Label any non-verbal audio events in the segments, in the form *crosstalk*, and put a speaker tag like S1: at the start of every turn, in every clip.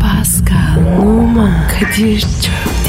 S1: Pascal, Oman, Kadir çok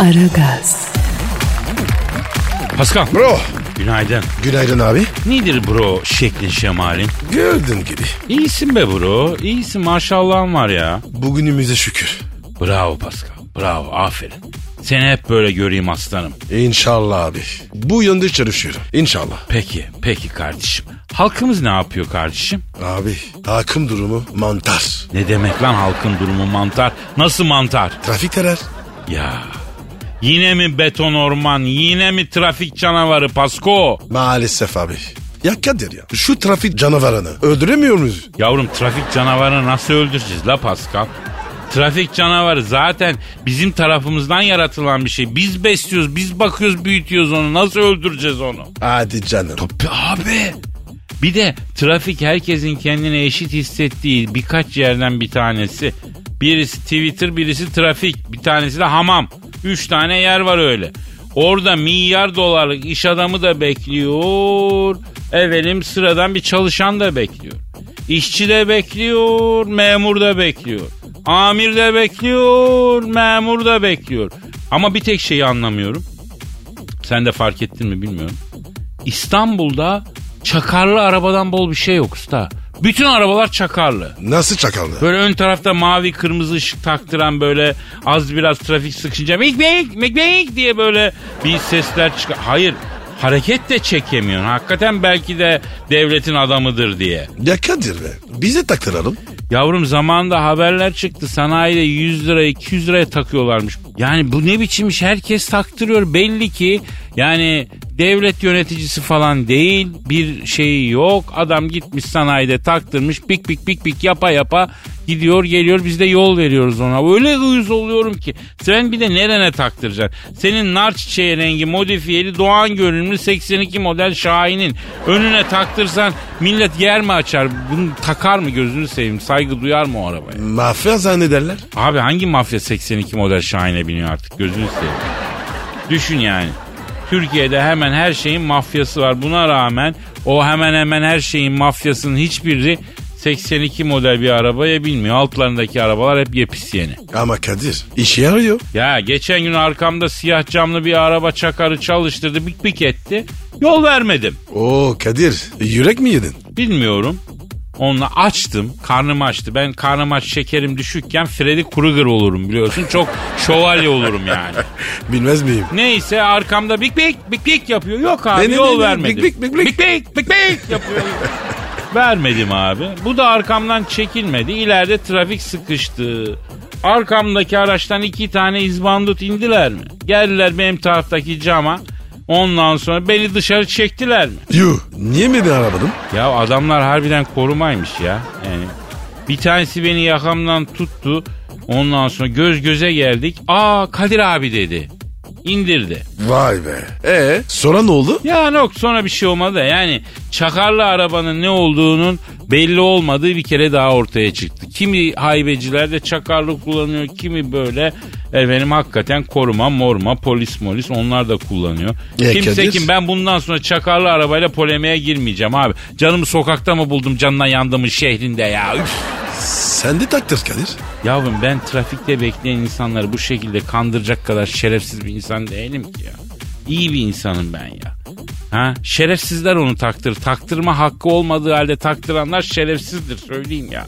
S1: Aragaz,
S2: Pascal.
S3: Bro.
S2: Günaydın.
S3: Günaydın abi.
S2: Nedir bro şeklin şemalin?
S3: Gördüğün gibi.
S2: İyisin be bro. İyisin maşallahın var ya.
S3: Bugünümüze şükür.
S2: Bravo Pascal. Bravo aferin. Seni hep böyle göreyim aslanım.
S3: İnşallah abi. Bu yönde çalışıyorum. İnşallah.
S2: Peki, peki kardeşim. Halkımız ne yapıyor kardeşim?
S3: Abi takım durumu mantar.
S2: Ne demek lan halkın durumu mantar? Nasıl mantar?
S3: Trafik terer.
S2: Ya yine mi beton orman, yine mi trafik canavarı Pasko?
S3: Maalesef abi. Ya Kadir ya. Şu trafik canavarını öldüremiyor muyuz?
S2: Yavrum trafik canavarını nasıl öldüreceğiz la Pascal? Trafik canavarı zaten bizim tarafımızdan yaratılan bir şey. Biz besliyoruz, biz bakıyoruz, büyütüyoruz onu. Nasıl öldüreceğiz onu?
S3: Hadi canım.
S2: Tabii abi. Bir de trafik herkesin kendini eşit hissettiği birkaç yerden bir tanesi. Birisi Twitter, birisi trafik, bir tanesi de hamam. Üç tane yer var öyle. Orada milyar dolarlık iş adamı da bekliyor. Efendim sıradan bir çalışan da bekliyor. İşçi de bekliyor, memur da bekliyor. Amir de bekliyor, memur da bekliyor. Ama bir tek şeyi anlamıyorum. Sen de fark ettin mi bilmiyorum. İstanbul'da çakarlı arabadan bol bir şey yok usta. Bütün arabalar çakarlı.
S3: Nasıl çakaldı?
S2: Böyle ön tarafta mavi kırmızı ışık taktıran böyle az biraz trafik sıkışınca mik mik mik mik diye böyle bir sesler çıkar. Hayır hareket de çekemiyorsun. Hakikaten belki de devletin adamıdır diye.
S3: Ya Kadir be. Bize taktıralım.
S2: Yavrum zamanında haberler çıktı. Sanayide 100 lira 200 liraya takıyorlarmış. Yani bu ne biçim iş herkes taktırıyor. Belli ki yani devlet yöneticisi falan değil. Bir şeyi yok. Adam gitmiş sanayide taktırmış. Pik pik pik pik yapa yapa gidiyor geliyor. Biz de yol veriyoruz ona. Öyle uyuz oluyorum ki. Sen bir de nerene taktıracaksın? Senin nar çiçeği rengi modifiyeli Doğan görünümlü 82 model Şahin'in önüne taktırsan millet yer mi açar? Bunu takar mı gözünü seveyim? Saygı duyar mı o arabaya?
S3: Mafya zannederler.
S2: Abi hangi mafya 82 model Şahin'e biniyor artık gözünü seveyim. Düşün yani. Türkiye'de hemen her şeyin mafyası var. Buna rağmen o hemen hemen her şeyin mafyasının hiçbiri 82 model bir arabaya binmiyor. Altlarındaki arabalar hep yepis yeni.
S3: Ama Kadir işe yarıyor.
S2: Ya geçen gün arkamda siyah camlı bir araba çakarı çalıştırdı bik bik etti. Yol vermedim.
S3: Oo Kadir yürek mi yedin?
S2: Bilmiyorum. Onunla açtım. Karnım açtı. Ben karnım aç şekerim düşükken Freddy Krueger olurum biliyorsun. Çok şövalye olurum yani.
S3: Bilmez miyim?
S2: Neyse arkamda bik bik bik bik yapıyor. Yok abi
S3: Ne, ne, ne,
S2: yol
S3: ne,
S2: vermedim.
S3: bik bik, bik bik.
S2: bik bik bik
S3: *laughs*
S2: bik yapıyor. vermedim abi. Bu da arkamdan çekilmedi. İleride trafik sıkıştı. Arkamdaki araçtan iki tane izbandut indiler mi? Geldiler benim taraftaki cama. Ondan sonra beni dışarı çektiler mi?
S3: Yuh niye beni aramadın?
S2: Ya adamlar harbiden korumaymış ya. Yani bir tanesi beni yakamdan tuttu. Ondan sonra göz göze geldik. Aa Kadir abi dedi. İndirdi.
S3: Vay be. E sonra ne oldu?
S2: Ya yok sonra bir şey olmadı da yani çakarlı arabanın ne olduğunun belli olmadığı bir kere daha ortaya çıktı. Kimi haybeciler de çakarlı kullanıyor, kimi böyle efendim hakikaten koruma, morma, polis molis onlar da kullanıyor.
S3: Ya
S2: Kimse
S3: Kadir?
S2: kim ben bundan sonra çakarlı arabayla polemiğe girmeyeceğim abi. Canımı sokakta mı buldum canına yandımın şehrinde ya. Üf.
S3: Sen de taktır Kadir.
S2: Yavrum ben trafikte bekleyen insanları bu şekilde kandıracak kadar şerefsiz bir insan değilim ki ya. İyi bir insanım ben ya. Ha? Şerefsizler onu taktır. Taktırma hakkı olmadığı halde taktıranlar şerefsizdir söyleyeyim ya.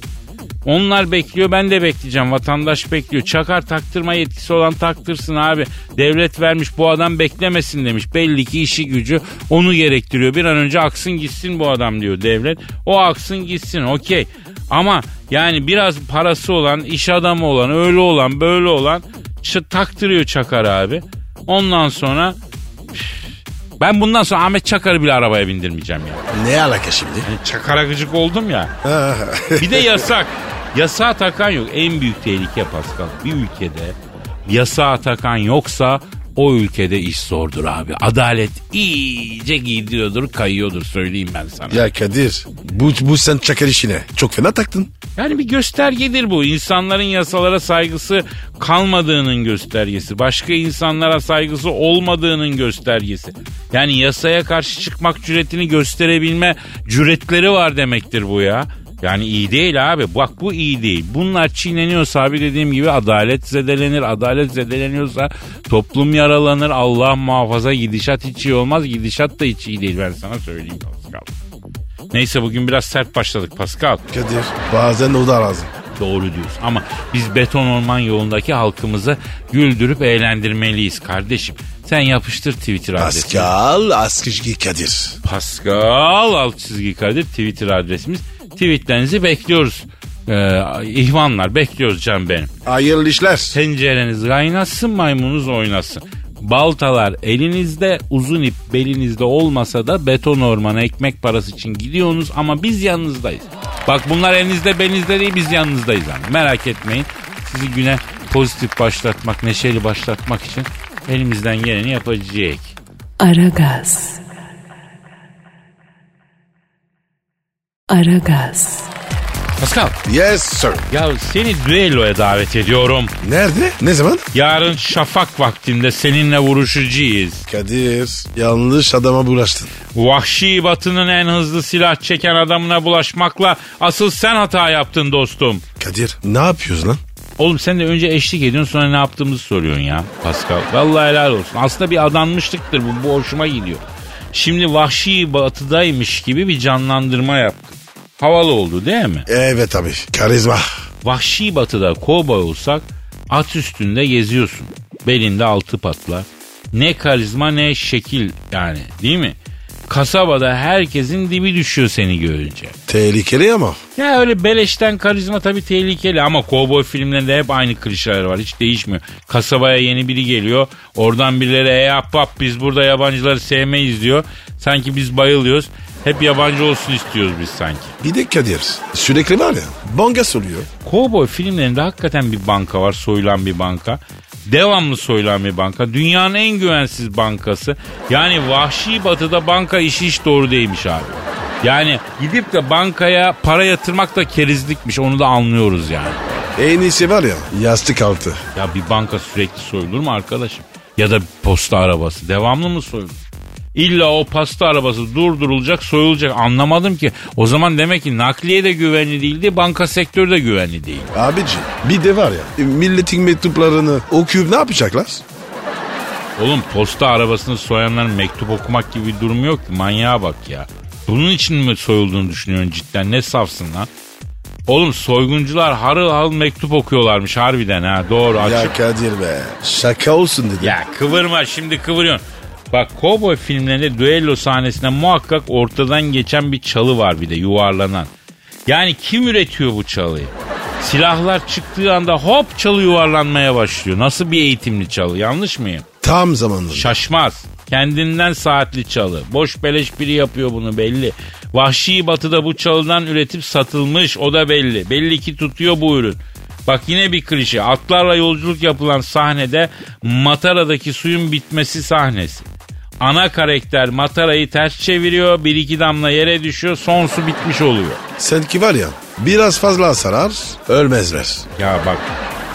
S2: Onlar bekliyor ben de bekleyeceğim. Vatandaş bekliyor. Çakar taktırma yetkisi olan taktırsın abi. Devlet vermiş bu adam beklemesin demiş. Belli ki işi gücü onu gerektiriyor. Bir an önce aksın gitsin bu adam diyor devlet. O aksın gitsin okey. Ama yani biraz parası olan, iş adamı olan, öyle olan, böyle olan ç- taktırıyor Çakar abi. Ondan sonra üf, ben bundan sonra Ahmet Çakar'ı bile arabaya bindirmeyeceğim ya. Hani
S3: Ne alaka şimdi?
S2: Yani Çakar'a gıcık oldum ya.
S3: Ha,
S2: Bir de yasak. Yasağa takan yok. En büyük tehlike Pascal. Bir ülkede yasağa takan yoksa o ülkede iş zordur abi. Adalet iyice gidiyordur, kayıyordur söyleyeyim ben sana.
S3: Ya Kadir bu, bu sen çakar işine. Çok fena taktın.
S2: Yani bir göstergedir bu. İnsanların yasalara saygısı kalmadığının göstergesi. Başka insanlara saygısı olmadığının göstergesi. Yani yasaya karşı çıkmak cüretini gösterebilme cüretleri var demektir bu ya. Yani iyi değil abi. Bak bu iyi değil. Bunlar çiğneniyorsa abi dediğim gibi adalet zedelenir. Adalet zedeleniyorsa toplum yaralanır. Allah muhafaza gidişat hiç iyi olmaz. Gidişat da hiç iyi değil ben sana söyleyeyim Pascal. Neyse bugün biraz sert başladık Pascal.
S3: Kadir bazen o da lazım.
S2: Doğru diyorsun ama biz beton orman yolundaki halkımızı güldürüp eğlendirmeliyiz kardeşim. Sen yapıştır Twitter adresini.
S3: Pascal Askışki Kadir.
S2: Pascal alt çizgi Kadir Twitter adresimiz. Tweetlerinizi bekliyoruz. Ee, ihvanlar bekliyoruz canım benim.
S3: Hayırlı işler.
S2: Tencereniz kaynasın maymunuz oynasın. Baltalar elinizde uzun ip belinizde olmasa da beton ormana ekmek parası için gidiyorsunuz ama biz yanınızdayız. Bak bunlar elinizde belinizde değil biz yanınızdayız abi. Merak etmeyin. Sizi güne pozitif başlatmak, neşeli başlatmak için elimizden geleni yapacağız.
S1: Aragaz. Aragaz.
S2: Pascal
S3: Yes sir.
S2: ya seni düelloya davet ediyorum.
S3: Nerede? Ne zaman?
S2: Yarın şafak vaktinde seninle vuruşacağız.
S3: Kadir yanlış adama bulaştın.
S2: Vahşi batının en hızlı silah çeken adamına bulaşmakla asıl sen hata yaptın dostum.
S3: Kadir ne yapıyorsun lan?
S2: Oğlum sen de önce eşlik ediyorsun sonra ne yaptığımızı soruyorsun ya Pascal. Vallahi helal olsun. Aslında bir adanmışlıktır bu. Bu hoşuma gidiyor. Şimdi vahşi batıdaymış gibi bir canlandırma yaptık. Havalı oldu değil mi?
S3: Evet abi karizma.
S2: Vahşi batıda kovboy olsak at üstünde geziyorsun. Belinde altı patlar. Ne karizma ne şekil yani değil mi? Kasabada herkesin dibi düşüyor seni görünce.
S3: Tehlikeli ama.
S2: Ya öyle beleşten karizma tabii tehlikeli ama kovboy filmlerinde hep aynı klişeler var hiç değişmiyor. Kasabaya yeni biri geliyor oradan birileri e ahbap biz burada yabancıları sevmeyiz diyor. Sanki biz bayılıyoruz hep yabancı olsun istiyoruz biz sanki.
S3: Bir de Kadir sürekli var ya bonga soruyor.
S2: Kovboy filmlerinde hakikaten bir banka var. Soyulan bir banka. Devamlı soyulan bir banka. Dünyanın en güvensiz bankası. Yani vahşi batıda banka işi hiç doğru değilmiş abi. Yani gidip de bankaya para yatırmak da kerizlikmiş. Onu da anlıyoruz yani.
S3: En iyisi var ya yastık altı.
S2: Ya bir banka sürekli soyulur mu arkadaşım? Ya da bir posta arabası devamlı mı soyulur? İlla o pasta arabası durdurulacak, soyulacak. Anlamadım ki. O zaman demek ki nakliye de güvenli değildi, banka sektörü de güvenli değil.
S3: Abici bir de var ya e, milletin mektuplarını okuyup ne yapacaklar?
S2: Oğlum posta arabasını soyanların mektup okumak gibi bir durumu yok ki. Manyağa bak ya. Bunun için mi soyulduğunu düşünüyorsun cidden? Ne safsın lan? Oğlum soyguncular harıl harıl mektup okuyorlarmış harbiden ha. Doğru açık.
S3: Ya Kadir be şaka olsun dedi.
S2: Ya kıvırma şimdi kıvırıyorsun. Bak kovboy filmlerinde düello sahnesinde muhakkak ortadan geçen bir çalı var bir de yuvarlanan. Yani kim üretiyor bu çalıyı? Silahlar çıktığı anda hop çalı yuvarlanmaya başlıyor. Nasıl bir eğitimli çalı yanlış mıyım?
S3: Tam zamanında.
S2: Şaşmaz. Kendinden saatli çalı. Boş beleş biri yapıyor bunu belli. Vahşi batıda bu çalıdan üretip satılmış o da belli. Belli ki tutuyor bu ürün. Bak yine bir klişe. Atlarla yolculuk yapılan sahnede Matara'daki suyun bitmesi sahnesi. Ana karakter Matara'yı ters çeviriyor. Bir iki damla yere düşüyor. Son su bitmiş oluyor.
S3: Sanki var ya biraz fazla sarar ölmezler.
S2: Ya bak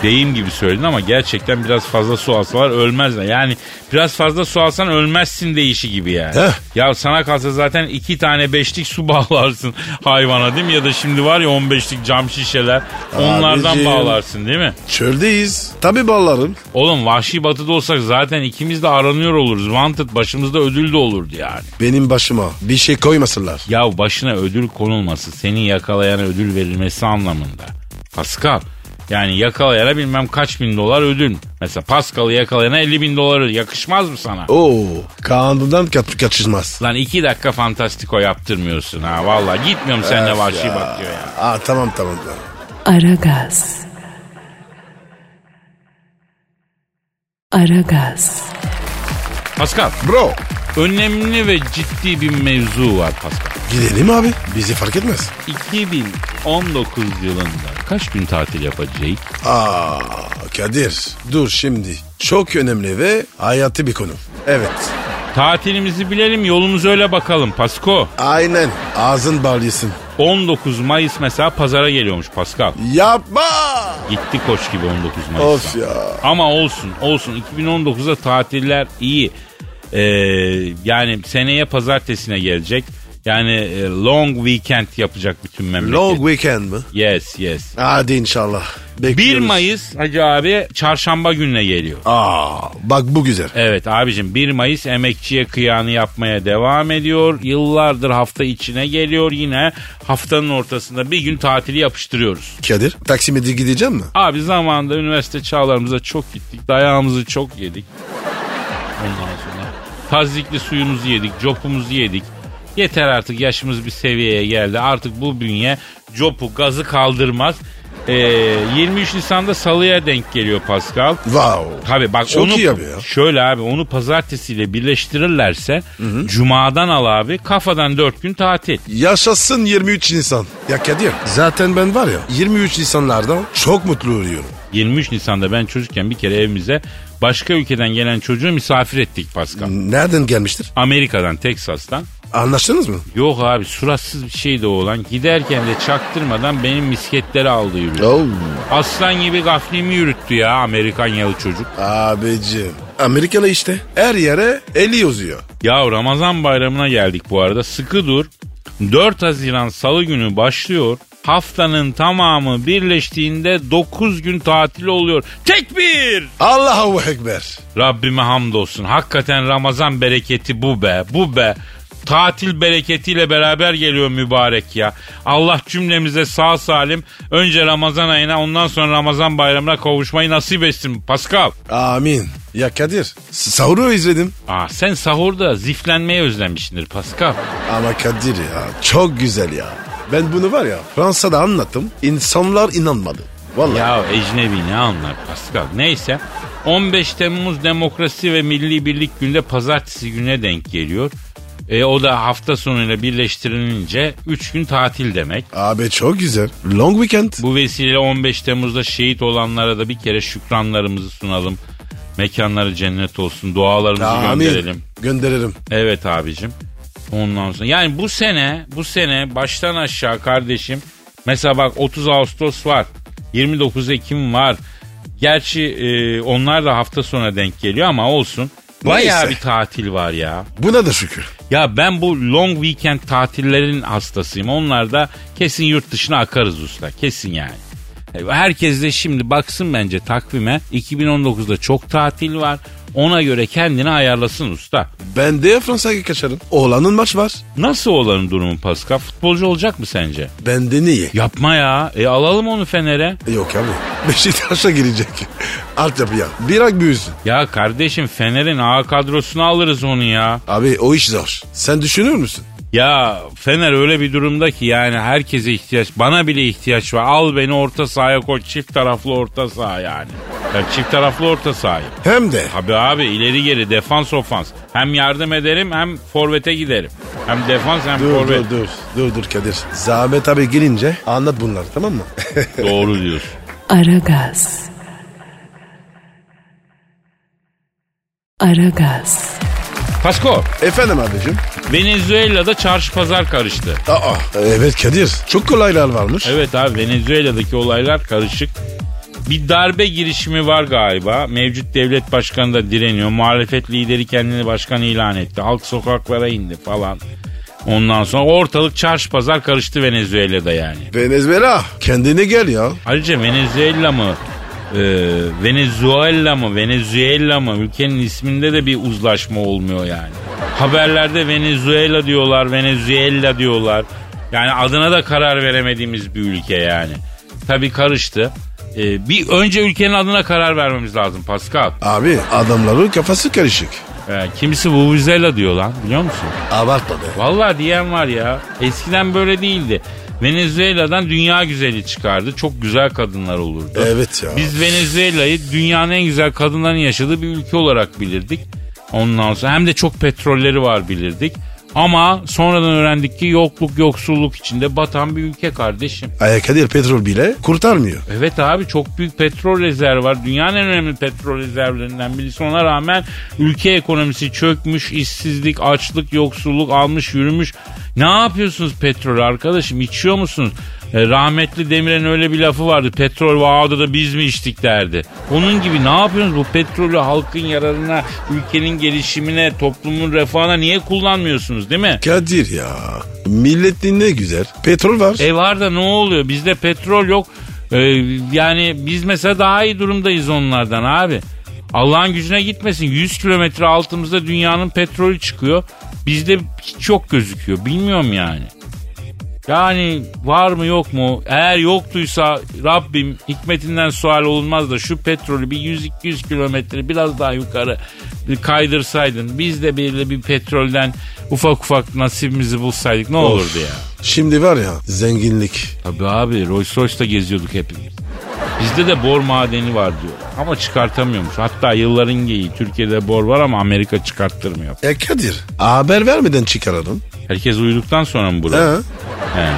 S2: deyim gibi söyledin ama gerçekten biraz fazla su alsalar ölmezler. Yani biraz fazla su alsan ölmezsin deyişi gibi yani.
S3: Heh.
S2: Ya sana kalsa zaten iki tane beşlik su *laughs* bağlarsın hayvana değil mi? Ya da şimdi var ya on beşlik cam şişeler onlardan
S3: Abicim.
S2: bağlarsın değil mi?
S3: Çöldeyiz. Tabi bağlarım.
S2: Oğlum vahşi batıda olsak zaten ikimiz de aranıyor oluruz. Wanted başımızda ödül de olurdu yani.
S3: Benim başıma bir şey koymasınlar.
S2: Ya başına ödül konulması, seni yakalayana ödül verilmesi anlamında. Pascal. Yani yakalayana bilmem kaç bin dolar ödül. Mesela Pascal'ı yakalayana 50 bin dolar ödül. Yakışmaz mı sana?
S3: Oo kanundan kaç kaçışmaz.
S2: Lan iki dakika fantastiko yaptırmıyorsun ha. Valla gitmiyorum seninle vahşi bak diyor ya.
S3: Aa tamam tamam. tamam.
S1: Aragaz. Aragaz.
S2: Pascal
S3: Bro
S2: önemli ve ciddi bir mevzu var Pascal.
S3: Gidelim abi. Bizi fark etmez.
S2: 2019 yılında kaç gün tatil yapacağız?
S3: Aa Kadir dur şimdi. Çok önemli ve hayati bir konu. Evet.
S2: Tatilimizi bilelim yolumuza öyle bakalım Pasko.
S3: Aynen. Ağzın bağlısın.
S2: 19 Mayıs mesela pazara geliyormuş Pascal.
S3: Yapma.
S2: Gitti koç gibi 19 Mayıs'ta.
S3: Of ya.
S2: Ama olsun olsun 2019'da tatiller iyi. Ee, yani seneye pazartesine gelecek. Yani e, long weekend yapacak bütün memleket.
S3: Long weekend mi?
S2: Yes yes.
S3: Hadi inşallah.
S2: 1
S3: Bekliyoruz.
S2: Mayıs Hacı abi çarşamba gününe geliyor.
S3: Aa bak bu güzel.
S2: Evet abicim 1 Mayıs emekçiye kıyağını yapmaya devam ediyor. Yıllardır hafta içine geliyor yine. Haftanın ortasında bir gün tatili yapıştırıyoruz.
S3: Kadir Taksim'e de gideceğim mi?
S2: Abi zamanında üniversite çağlarımıza çok gittik. Dayağımızı çok yedik. Ondan sonra tazikli suyumuzu yedik, copumuzu yedik. Yeter artık yaşımız bir seviyeye geldi. Artık bu bünye copu gazı kaldırmaz. Ee, 23 Nisan'da salıya denk geliyor Pascal.
S3: Wow.
S2: Tabii bak
S3: Çok
S2: onu
S3: iyi abi ya.
S2: şöyle abi onu pazartesiyle birleştirirlerse cumadan al abi kafadan 4 gün tatil.
S3: Yaşasın 23 Nisan. Ya Kadir zaten ben var ya 23 Nisanlardan çok mutlu oluyorum.
S2: 23 Nisan'da ben çocukken bir kere evimize başka ülkeden gelen çocuğu misafir ettik Pascal.
S3: Nereden gelmiştir?
S2: Amerika'dan, Teksas'tan.
S3: Anlaştınız mı?
S2: Yok abi suratsız bir şeydi o olan. Giderken de çaktırmadan benim misketleri aldı yürüyor.
S3: Oh.
S2: Aslan gibi gaflimi yürüttü ya Amerikanyalı çocuk.
S3: Abicim. Amerikalı işte. Her yere eli uzuyor.
S2: Ya Ramazan bayramına geldik bu arada. Sıkı dur. 4 Haziran Salı günü başlıyor. Haftanın tamamı birleştiğinde 9 gün tatil oluyor. Tekbir!
S3: Allahu Ekber.
S2: Rabbime hamdolsun. Hakikaten Ramazan bereketi bu be, bu be. Tatil bereketiyle beraber geliyor mübarek ya. Allah cümlemize sağ salim önce Ramazan ayına ondan sonra Ramazan bayramına kavuşmayı nasip etsin Pascal.
S3: Amin. Ya Kadir sahuru izledim.
S2: Aa, sen sahurda ziflenmeyi özlemişsindir Pascal.
S3: Ama Kadir ya çok güzel ya. Ben bunu var ya Fransa'da anlattım. İnsanlar inanmadı. Vallahi.
S2: Ya ecnebi ne anlar Pascal. Neyse 15 Temmuz Demokrasi ve Milli Birlik Günde pazartesi güne denk geliyor. E, o da hafta sonuyla birleştirilince 3 gün tatil demek.
S3: Abi çok güzel. Long weekend.
S2: Bu vesileyle 15 Temmuz'da şehit olanlara da bir kere şükranlarımızı sunalım. Mekanları cennet olsun. Dualarımızı gönderelim.
S3: Gönderirim.
S2: Evet abicim. Ondan sonra yani bu sene bu sene baştan aşağı kardeşim. Mesela bak 30 Ağustos var. 29 Ekim var. Gerçi e, onlar da hafta sona denk geliyor ama olsun. Bayağı
S3: Neyse.
S2: bir tatil var ya.
S3: Buna da şükür.
S2: Ya ben bu long weekend tatillerin hastasıyım. Onlar da kesin yurt dışına akarız usta. Kesin yani. E, Herkes de şimdi baksın bence takvime. 2019'da çok tatil var. Ona göre kendini ayarlasın usta.
S3: Ben de Fransa'ya kaçarım. Oğlanın maç var.
S2: Nasıl olanın durumu Pascal? Futbolcu olacak mı sence?
S3: Ben de niye?
S2: Yapma ya. E alalım onu Fener'e.
S3: Yok abi. *laughs* Beşiktaş'a girecek. Altyapıya. Bir ak büyüsün.
S2: Ya kardeşim Fener'in A kadrosunu alırız onu ya.
S3: Abi o iş zor. Sen düşünür müsün?
S2: Ya Fener öyle bir durumda ki yani herkese ihtiyaç, bana bile ihtiyaç var. Al beni orta sahaya koy, çift taraflı orta saha yani. Ya çift taraflı orta saha.
S3: Hem de.
S2: Abi abi ileri geri defans ofans. Hem yardım ederim hem forvete giderim. Hem defans hem
S3: Dur
S2: forvet.
S3: dur dur. Dur dur Kadir. Zahmet abi gelince anlat bunları tamam mı? *laughs*
S2: Doğru diyorsun.
S1: Aragaz. Aragaz.
S2: Pasko,
S3: Efendim abicim.
S2: Venezuela'da çarşı pazar karıştı.
S3: Aa evet Kadir. Çok kolaylar varmış.
S2: Evet abi Venezuela'daki olaylar karışık. Bir darbe girişimi var galiba. Mevcut devlet başkanı da direniyor. Muhalefet lideri kendini başkan ilan etti. Halk sokaklara indi falan. Ondan sonra ortalık çarşı pazar karıştı Venezuela'da yani.
S3: Venezuela. Kendine gel ya.
S2: Ayrıca Venezuela mı? e, Venezuela mı? Venezuela mı? Ülkenin isminde de bir uzlaşma olmuyor yani. Haberlerde Venezuela diyorlar, Venezuela diyorlar. Yani adına da karar veremediğimiz bir ülke yani. Tabii karıştı. E, bir önce ülkenin adına karar vermemiz lazım Pascal.
S3: Abi adamların kafası karışık.
S2: E, kimisi Vuvuzela diyor lan biliyor musun?
S3: Abartma be.
S2: Vallahi diyen var ya. Eskiden böyle değildi. Venezuela'dan dünya güzeli çıkardı. Çok güzel kadınlar olurdu.
S3: Evet ya.
S2: Biz Venezuela'yı dünyanın en güzel kadınların yaşadığı bir ülke olarak bilirdik. Ondan sonra hem de çok petrolleri var bilirdik. Ama sonradan öğrendik ki yokluk yoksulluk içinde batan bir ülke kardeşim.
S3: Ay Kadir petrol bile kurtarmıyor.
S2: Evet abi çok büyük petrol rezervi var. Dünyanın en önemli petrol rezervlerinden birisi. Ona rağmen ülke ekonomisi çökmüş, işsizlik, açlık, yoksulluk almış yürümüş. Ne yapıyorsunuz petrol arkadaşım? İçiyor musunuz? E, rahmetli Demir'in öyle bir lafı vardı. Petrol vaadi da biz mi içtik derdi. Onun gibi ne yapıyorsunuz? Bu petrolü halkın yararına, ülkenin gelişimine, toplumun refahına niye kullanmıyorsunuz değil mi?
S3: Kadir ya. Milletin ne güzel. Petrol var.
S2: E var da ne oluyor? Bizde petrol yok. Ee, yani biz mesela daha iyi durumdayız onlardan abi. Allah'ın gücüne gitmesin. 100 kilometre altımızda dünyanın petrolü çıkıyor. Bizde hiç yok gözüküyor. Bilmiyorum yani. Yani var mı yok mu? Eğer yoktuysa Rabbim hikmetinden sual olunmaz da şu petrolü bir 100-200 kilometre biraz daha yukarı kaydırsaydın. Biz de böyle bir petrolden ufak ufak nasibimizi bulsaydık ne olurdu ya?
S3: Şimdi var ya zenginlik.
S2: Tabii abi Rolls Royce'da geziyorduk hepimiz. Bizde de bor madeni var diyor. Ama çıkartamıyormuş. Hatta yılların geyiği Türkiye'de bor var ama Amerika çıkarttırmıyor.
S3: E Kadir haber vermeden çıkaralım.
S2: Herkes uyuduktan sonra mı burada?
S3: Ha?
S2: He.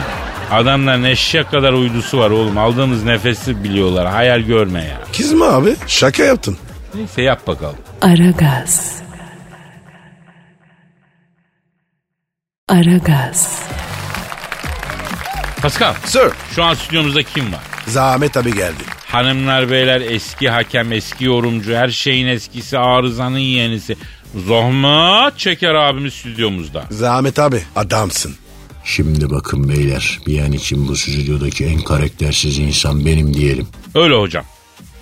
S2: Adamların eşek kadar uydusu var oğlum. Aldığımız nefesi biliyorlar. Hayal görme ya.
S3: Kızma abi şaka yaptın.
S2: Neyse yap bakalım.
S1: Aragaz. Aragaz.
S2: Pascal
S3: Sir.
S2: şu an stüdyomuzda kim var?
S3: Zahmet abi geldi.
S2: Hanımlar beyler eski hakem eski yorumcu her şeyin eskisi arızanın yenisi. Zohma Çeker abimiz stüdyomuzda.
S3: Zahmet abi adamsın.
S4: Şimdi bakın beyler bir an için bu stüdyodaki en karaktersiz insan benim diyelim.
S2: Öyle hocam.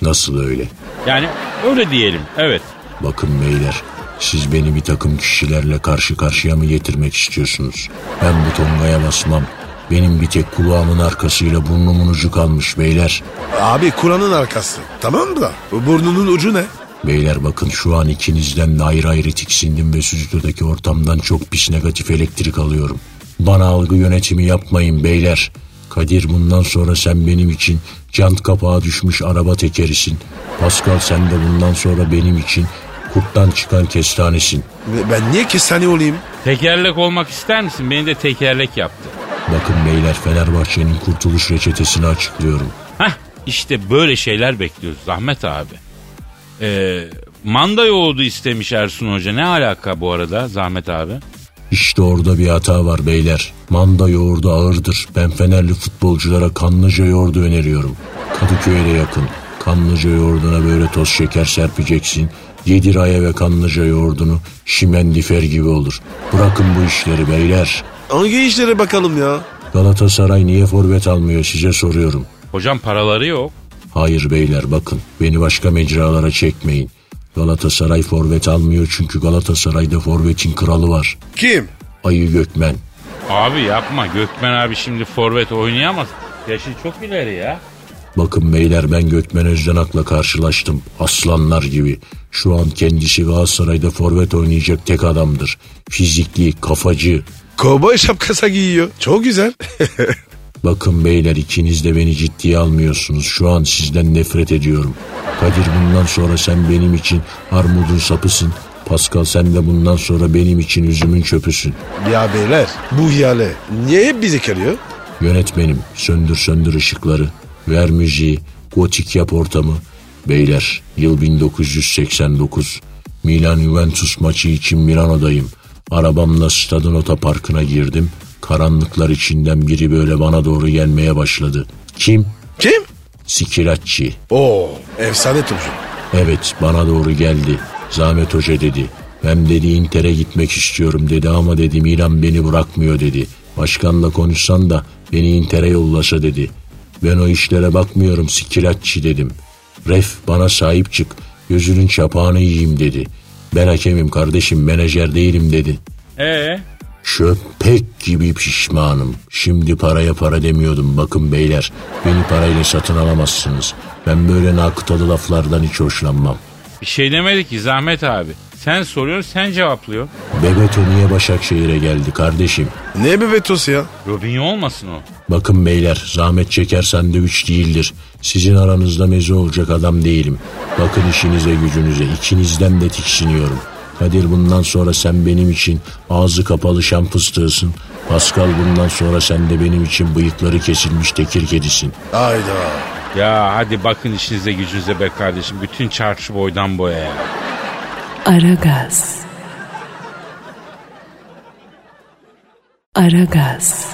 S4: Nasıl öyle?
S2: Yani öyle diyelim. Evet.
S4: Bakın beyler siz beni bir takım kişilerle karşı karşıya mı getirmek istiyorsunuz? Ben bu tongaya basmam. Benim bir tek kulağımın arkasıyla burnumun ucu kalmış beyler.
S3: Abi Kur'an'ın arkası. Tamam mı da? Bu Burnunun ucu ne?
S4: Beyler bakın şu an ikinizden de ayrı ayrı tiksindim ve stüdyodaki ortamdan çok pis negatif elektrik alıyorum. Bana algı yönetimi yapmayın beyler. Kadir bundan sonra sen benim için cant kapağı düşmüş araba tekerisin. Pascal sen de bundan sonra benim için kurttan çıkan kestanesin.
S3: Ben niye kestane olayım?
S2: Tekerlek olmak ister misin? Beni de tekerlek yaptı.
S4: Bakın beyler Fenerbahçe'nin kurtuluş reçetesini açıklıyorum.
S2: Hah işte böyle şeyler bekliyoruz Zahmet abi. Ee, manda yoğurdu istemiş Ersun Hoca. Ne alaka bu arada Zahmet abi?
S4: İşte orada bir hata var beyler. Manda yoğurdu ağırdır. Ben Fenerli futbolculara kanlıca yoğurdu öneriyorum. Kadıköy'e de yakın. Kanlıca yoğurduna böyle toz şeker serpeceksin. Yedir aya ve kanlıca yoğurdunu şimendifer gibi olur. Bırakın bu işleri beyler.
S3: Hangi işlere bakalım ya?
S4: Galatasaray niye forvet almıyor size soruyorum.
S2: Hocam paraları yok.
S4: Hayır beyler bakın beni başka mecralara çekmeyin. Galatasaray forvet almıyor çünkü Galatasaray'da forvetin kralı var.
S3: Kim?
S4: Ayı Gökmen.
S2: Abi yapma Gökmen abi şimdi forvet oynayamaz. Yaşı çok ileri ya.
S4: Bakın beyler ben Gökmen Özdenak'la karşılaştım. Aslanlar gibi. Şu an kendisi Galatasaray'da forvet oynayacak tek adamdır. Fizikli, kafacı.
S3: Kovboy şapkası giyiyor. Çok güzel.
S4: Bakın beyler ikiniz de beni ciddiye almıyorsunuz. Şu an sizden nefret ediyorum. Kadir bundan sonra sen benim için armudun sapısın. Pascal sen de bundan sonra benim için üzümün çöpüsün.
S3: *laughs* ya beyler bu hiyale niye hep bizi kırıyor?
S4: Yönetmenim söndür söndür ışıkları. Ver müziği. Gotik yap ortamı. Beyler yıl 1989. Milan Juventus maçı için Milano'dayım. Arabamla stadın otoparkına girdim. Karanlıklar içinden biri böyle bana doğru gelmeye başladı. Kim?
S3: Kim?
S4: Sikiracci.
S3: Oo efsane topçu.
S4: Evet bana doğru geldi. Zahmet Hoca dedi. Ben dedi Inter'e gitmek istiyorum dedi ama dedi Milan beni bırakmıyor dedi. Başkanla konuşsan da beni Inter'e yollasa dedi. Ben o işlere bakmıyorum sikilatçı dedim. Ref bana sahip çık gözünün çapağını yiyeyim dedi. Ben hakemim kardeşim menajer değilim dedi.
S2: Ee
S4: Şöpek gibi pişmanım. Şimdi paraya para demiyordum. Bakın beyler beni parayla satın alamazsınız. Ben böyle nakıtalı laflardan hiç hoşlanmam.
S2: bir şey demedi ki Zahmet abi. Sen soruyorsun sen cevaplıyor.
S4: Bebeto niye Başakşehir'e geldi kardeşim?
S3: Ne bir vetosu ya?
S2: Robinho olmasın o.
S4: Bakın beyler zahmet çeker sandviç değildir. Sizin aranızda meze olacak adam değilim. Bakın işinize gücünüze ikinizden de tiksiniyorum. Kadir bundan sonra sen benim için ağzı kapalı şam fıstığısın. Pascal bundan sonra sen de benim için bıyıkları kesilmiş tekir kedisin.
S3: Hayda.
S2: Ya hadi bakın işinize gücünüze be kardeşim. Bütün çarşı boydan boya ya.
S1: Aragaz. Aragaz.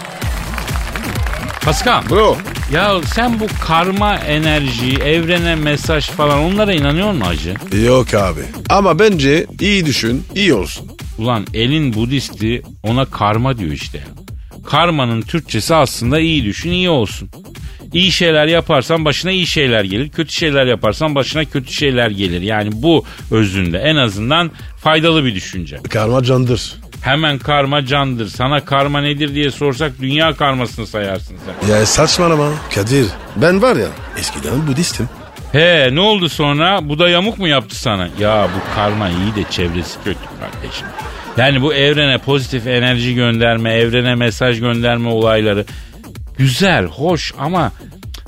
S2: Pascal.
S3: Bro.
S2: Ya sen bu karma enerji, evrene mesaj falan onlara inanıyor musun hacı?
S3: Yok abi. Ama bence iyi düşün, iyi olsun.
S2: Ulan elin Budisti ona karma diyor işte. ya. Karmanın Türkçesi aslında iyi düşün iyi olsun. İyi şeyler yaparsan başına iyi şeyler gelir. Kötü şeyler yaparsan başına kötü şeyler gelir. Yani bu özünde en azından faydalı bir düşünce.
S3: Karma candır.
S2: Hemen karma candır. Sana karma nedir diye sorsak dünya karmasını sayarsın sen.
S3: Ya saçmalama. Kadir. Ben var ya eskiden Budistim.
S2: He ne oldu sonra? Bu da yamuk mu yaptı sana? Ya bu karma iyi de çevresi kötü kardeşim. Yani bu evrene pozitif enerji gönderme, evrene mesaj gönderme olayları güzel, hoş ama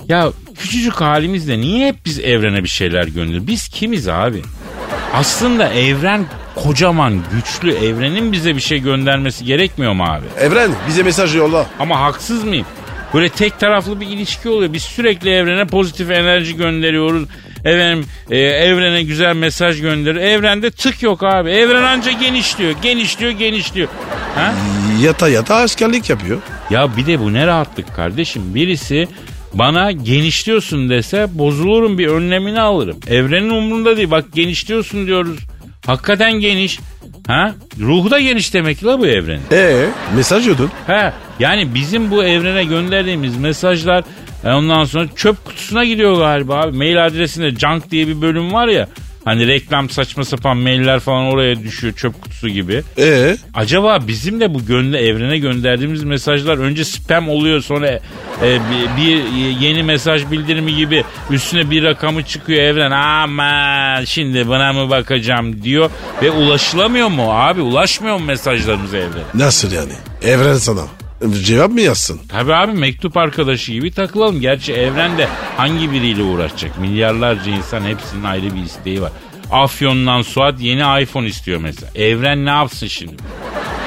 S2: ya küçücük halimizde niye hep biz evrene bir şeyler gönderiyoruz? Biz kimiz abi? Aslında evren kocaman, güçlü. Evrenin bize bir şey göndermesi gerekmiyor mu abi?
S3: Evren bize mesaj yolla.
S2: Ama haksız mıyım? Böyle tek taraflı bir ilişki oluyor. Biz sürekli evrene pozitif enerji gönderiyoruz. Efendim e, evrene güzel mesaj gönderiyoruz. Evrende tık yok abi. Evren anca genişliyor, genişliyor, genişliyor. Ha?
S3: Yata yata askerlik yapıyor.
S2: Ya bir de bu ne rahatlık kardeşim. Birisi bana genişliyorsun dese bozulurum bir önlemini alırım. Evrenin umrunda değil. Bak genişliyorsun diyoruz. Hakikaten geniş. Ha? Ruhu da geniş demek la bu evrenin.
S3: Ee mesaj yodun.
S2: He, yani bizim bu evrene gönderdiğimiz mesajlar e, ondan sonra çöp kutusuna gidiyor galiba abi. Mail adresinde junk diye bir bölüm var ya. Hani reklam saçma sapan mailler falan oraya düşüyor çöp kutusu gibi.
S3: Ee
S2: Acaba bizim de bu gönlü evrene gönderdiğimiz mesajlar önce spam oluyor sonra e, bir, bir yeni mesaj bildirimi gibi üstüne bir rakamı çıkıyor evren ama şimdi buna mı bakacağım diyor ve ulaşılamıyor mu abi ulaşmıyor mu mesajlarımız evrene?
S3: nasıl yani? Evren sana. Cevap mı yazsın?
S2: Tabii abi mektup arkadaşı gibi takılalım. Gerçi evrende hangi biriyle uğraşacak? Milyarlarca insan hepsinin ayrı bir isteği var. Afyon'dan Suat yeni iPhone istiyor mesela. Evren ne yapsın şimdi?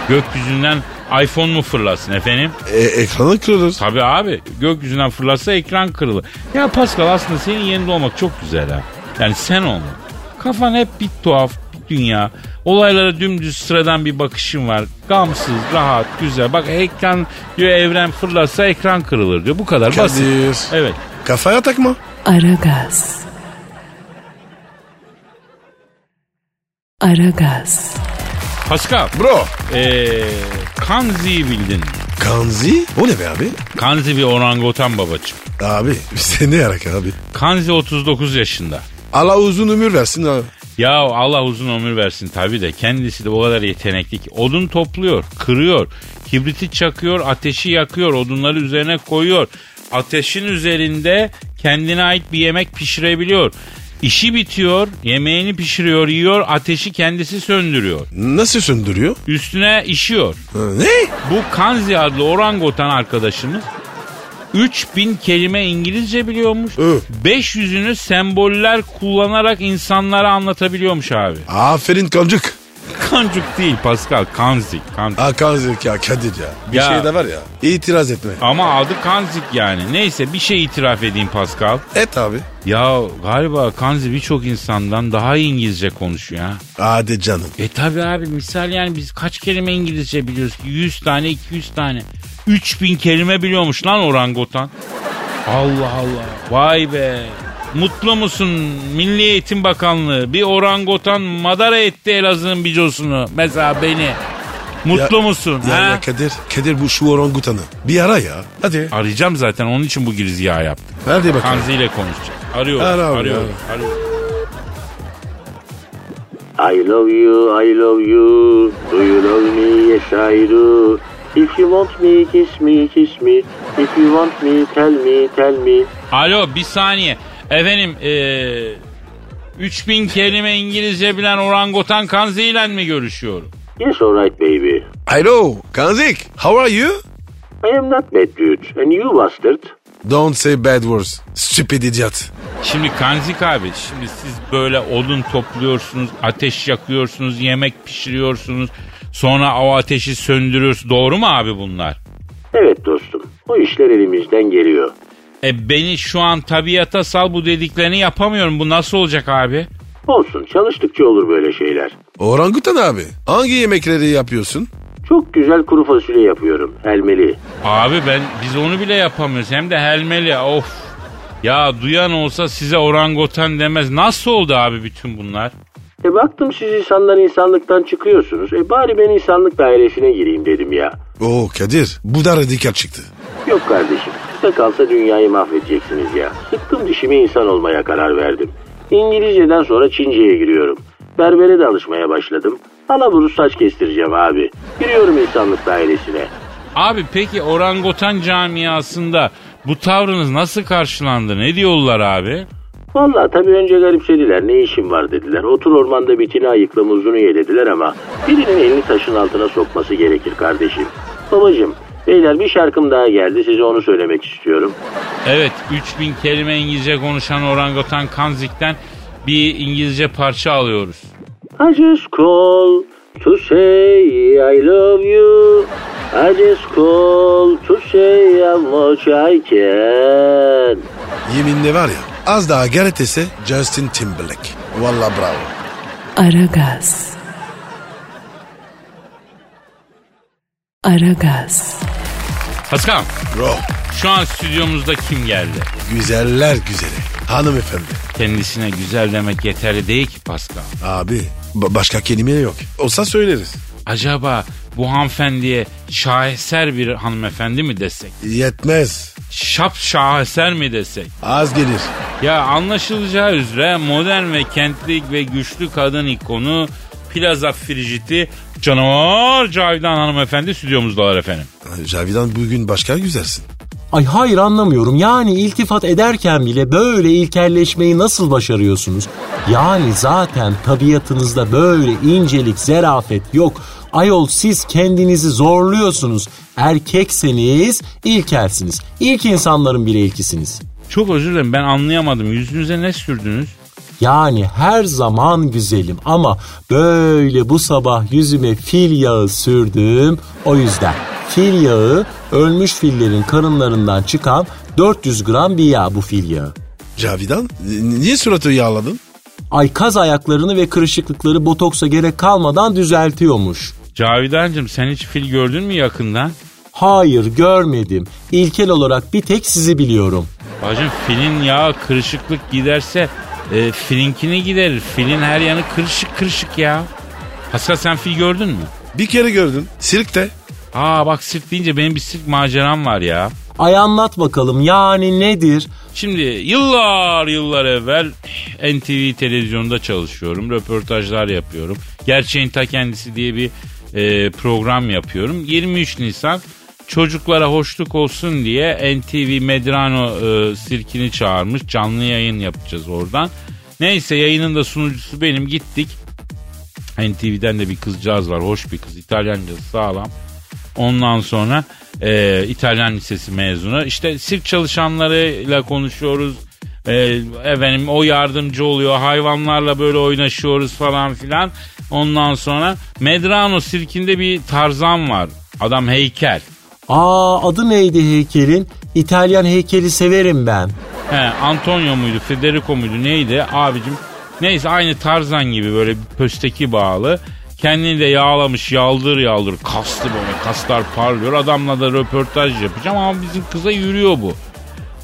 S2: Gökyüzünden iPhone mu fırlasın efendim?
S3: E, ekranı kırılır.
S2: Tabii abi gökyüzünden fırlasa ekran kırılır. Ya Pascal aslında senin yerinde olmak çok güzel ha. Yani sen olmak. Kafan hep bir tuhaf bir dünya. Olaylara dümdüz sıradan bir bakışın var. Gamsız, rahat, güzel. Bak ekran diyor evren fırlasa ekran kırılır diyor. Bu kadar basit.
S3: Kadir.
S2: Evet.
S3: Kafaya takma.
S1: Aragaz. Aragaz.
S2: Pascal,
S3: Bro.
S2: ee, Kanzi'yi bildin. mi?
S3: Kanzi? O ne be abi?
S2: Kanzi bir orangutan babacığım.
S3: Abi *laughs* bize ne yarak abi?
S2: Kanzi 39 yaşında.
S3: Allah uzun ömür versin abi.
S2: Ya Allah uzun ömür versin tabii de kendisi de o kadar yetenekli ki odun topluyor, kırıyor, kibriti çakıyor, ateşi yakıyor, odunları üzerine koyuyor. Ateşin üzerinde kendine ait bir yemek pişirebiliyor. İşi bitiyor, yemeğini pişiriyor, yiyor, ateşi kendisi söndürüyor.
S3: Nasıl söndürüyor?
S2: Üstüne işiyor.
S3: Ha, Ne?
S2: Bu Kanzi adlı orangutan arkadaşımız 3000 kelime İngilizce biliyormuş.
S3: Ö.
S2: 500'ünü semboller kullanarak insanlara anlatabiliyormuş abi.
S3: Aferin kancık.
S2: Kancuk değil Pascal, Kanzik. Kanzik.
S3: Ha kancık ya Kadir ya. Bir
S2: Ya.
S3: şey de var ya. İtiraz etme.
S2: Ama adı Kanzik yani. Neyse bir şey itiraf edeyim Pascal.
S3: Et abi.
S2: Ya galiba Kanzi birçok insandan daha iyi İngilizce konuşuyor ha.
S3: Hadi canım.
S2: E tabi abi misal yani biz kaç kelime İngilizce biliyoruz ki? 100 tane 200 tane. 3000 kelime biliyormuş lan orangutan. Allah Allah. Vay be. Mutlu musun Milli Eğitim Bakanlığı? Bir orangutan madara etti Elazığ'ın bicosunu. Mesela beni. Mutlu
S3: Ya-
S2: musun?
S3: Ya,
S2: ha?
S3: ya Kadir. Kadir bu şu orangutanı. Bir ara ya. Hadi.
S2: Arayacağım zaten onun için bu girizgahı yaptım.
S3: Hadi bakalım.
S2: Kanzi ile konuşacak. Arıyorum.
S3: Ara abi,
S2: arıyorum. arıyorum.
S5: I love you, I love you. Do you love me? Yes, I do. If you want me, kiss me, kiss me. If you want me, tell me, tell me.
S2: Alo bir saniye. Efendim eee 3000 kelime İngilizce bilen orangutan Kanzi ile mi görüşüyorum?
S5: Yes, alright, baby.
S3: Hello. Kanzik. How are you?
S5: I am not bad dude, and you bastard.
S3: Don't say bad words. Stupid idiot.
S2: Şimdi Kanzik abi şimdi siz böyle odun topluyorsunuz, ateş yakıyorsunuz, yemek pişiriyorsunuz. Sonra o ateşi söndürüyorsunuz. Doğru mu abi bunlar?
S5: Evet dostum, bu işler elimizden geliyor.
S2: E beni şu an tabiata sal bu dediklerini yapamıyorum. Bu nasıl olacak abi?
S5: Olsun, çalıştıkça olur böyle şeyler.
S3: Orangutan abi hangi yemekleri yapıyorsun?
S5: Çok güzel kuru fasulye yapıyorum, helmeli.
S2: Abi ben biz onu bile yapamıyoruz. Hem de helmeli of. Ya duyan olsa size orangutan demez. Nasıl oldu abi bütün bunlar?
S5: E baktım siz insanlar insanlıktan çıkıyorsunuz. E bari ben insanlık dairesine gireyim dedim ya.
S3: Oo Kadir bu da radikal çıktı.
S5: Yok kardeşim, size kalsa dünyayı mahvedeceksiniz ya. Sıktım dişimi insan olmaya karar verdim. İngilizceden sonra Çince'ye giriyorum. Berbere de alışmaya başladım. Alaburu saç kestireceğim abi. Giriyorum insanlık dairesine.
S2: Abi peki orangutan camiasında bu tavrınız nasıl karşılandı? Ne diyorlar abi?
S5: Valla tabii önce garipsediler. Ne işin var dediler. Otur ormanda bitini ayıkla muzunu ye dediler ama birinin elini taşın altına sokması gerekir kardeşim. Babacım, beyler bir şarkım daha geldi. Size onu söylemek istiyorum.
S2: Evet 3000 kelime İngilizce konuşan orangutan Kanzik'ten bir İngilizce parça alıyoruz.
S5: I just call to say I love you. I just call to say how much I can.
S3: Yeminle var ya az daha gayret etse Justin Timberlake. Valla bravo.
S1: Aragaz. Aragaz.
S2: Paskal
S3: Bro
S2: şu an stüdyomuzda kim geldi?
S3: güzeller güzeli. Hanımefendi.
S2: Kendisine güzel demek yeterli değil ki Pascal.
S3: Abi ba- başka kelime yok. Olsa söyleriz.
S2: Acaba bu hanımefendiye şaheser bir hanımefendi mi desek?
S3: Yetmez.
S2: Şap şaheser mi desek?
S3: Az gelir.
S2: Ya anlaşılacağı üzere modern ve kentli ve güçlü kadın ikonu Plaza Frigiti canavar Cavidan hanımefendi stüdyomuzdalar efendim.
S3: Cavidan bugün başka güzelsin.
S4: Ay hayır anlamıyorum. Yani iltifat ederken bile böyle ilkelleşmeyi nasıl başarıyorsunuz? Yani zaten tabiatınızda böyle incelik, zerafet yok. Ayol siz kendinizi zorluyorsunuz. Erkekseniz ilkelsiniz. İlk insanların bile ilkisiniz.
S2: Çok özür dilerim ben anlayamadım. Yüzünüze ne sürdünüz?
S4: Yani her zaman güzelim ama böyle bu sabah yüzüme fil yağı sürdüm. O yüzden fil yağı ölmüş fillerin karınlarından çıkan 400 gram bir yağ bu fil yağı.
S3: Cavidan n- niye suratı yağladın?
S4: Ay kaz ayaklarını ve kırışıklıkları botoksa gerek kalmadan düzeltiyormuş.
S2: Cavidancığım sen hiç fil gördün mü yakından?
S4: Hayır görmedim. İlkel olarak bir tek sizi biliyorum.
S2: Bacım filin yağı kırışıklık giderse e, filinkini giderir. Filin her yanı kırışık kırışık ya. Hasan sen fil gördün mü?
S3: Bir kere gördüm. Sirkte.
S2: Aa bak sirk deyince benim bir sirk maceram var ya.
S4: Ay anlat bakalım yani nedir?
S2: Şimdi yıllar yıllar evvel NTV televizyonda çalışıyorum. Röportajlar yapıyorum. Gerçeğin ta kendisi diye bir e, program yapıyorum. 23 Nisan çocuklara hoşluk olsun diye NTV Medrano e, sirkini çağırmış. Canlı yayın yapacağız oradan. Neyse yayının da sunucusu benim. Gittik. NTV'den de bir kızcağız var. Hoş bir kız. İtalyancası sağlam. Ondan sonra e, İtalyan Lisesi mezunu. İşte sirk çalışanlarıyla konuşuyoruz. E, efendim o yardımcı oluyor. Hayvanlarla böyle oynaşıyoruz falan filan. Ondan sonra Medrano sirkinde bir tarzan var. Adam heykel.
S4: Aa adı neydi heykelin? İtalyan heykeli severim ben.
S2: He, Antonio muydu, Federico muydu neydi abicim? Neyse aynı Tarzan gibi böyle bir pösteki bağlı. Kendini de yağlamış yaldır yaldır kaslı böyle kaslar parlıyor. Adamla da röportaj yapacağım ama bizim kıza yürüyor bu.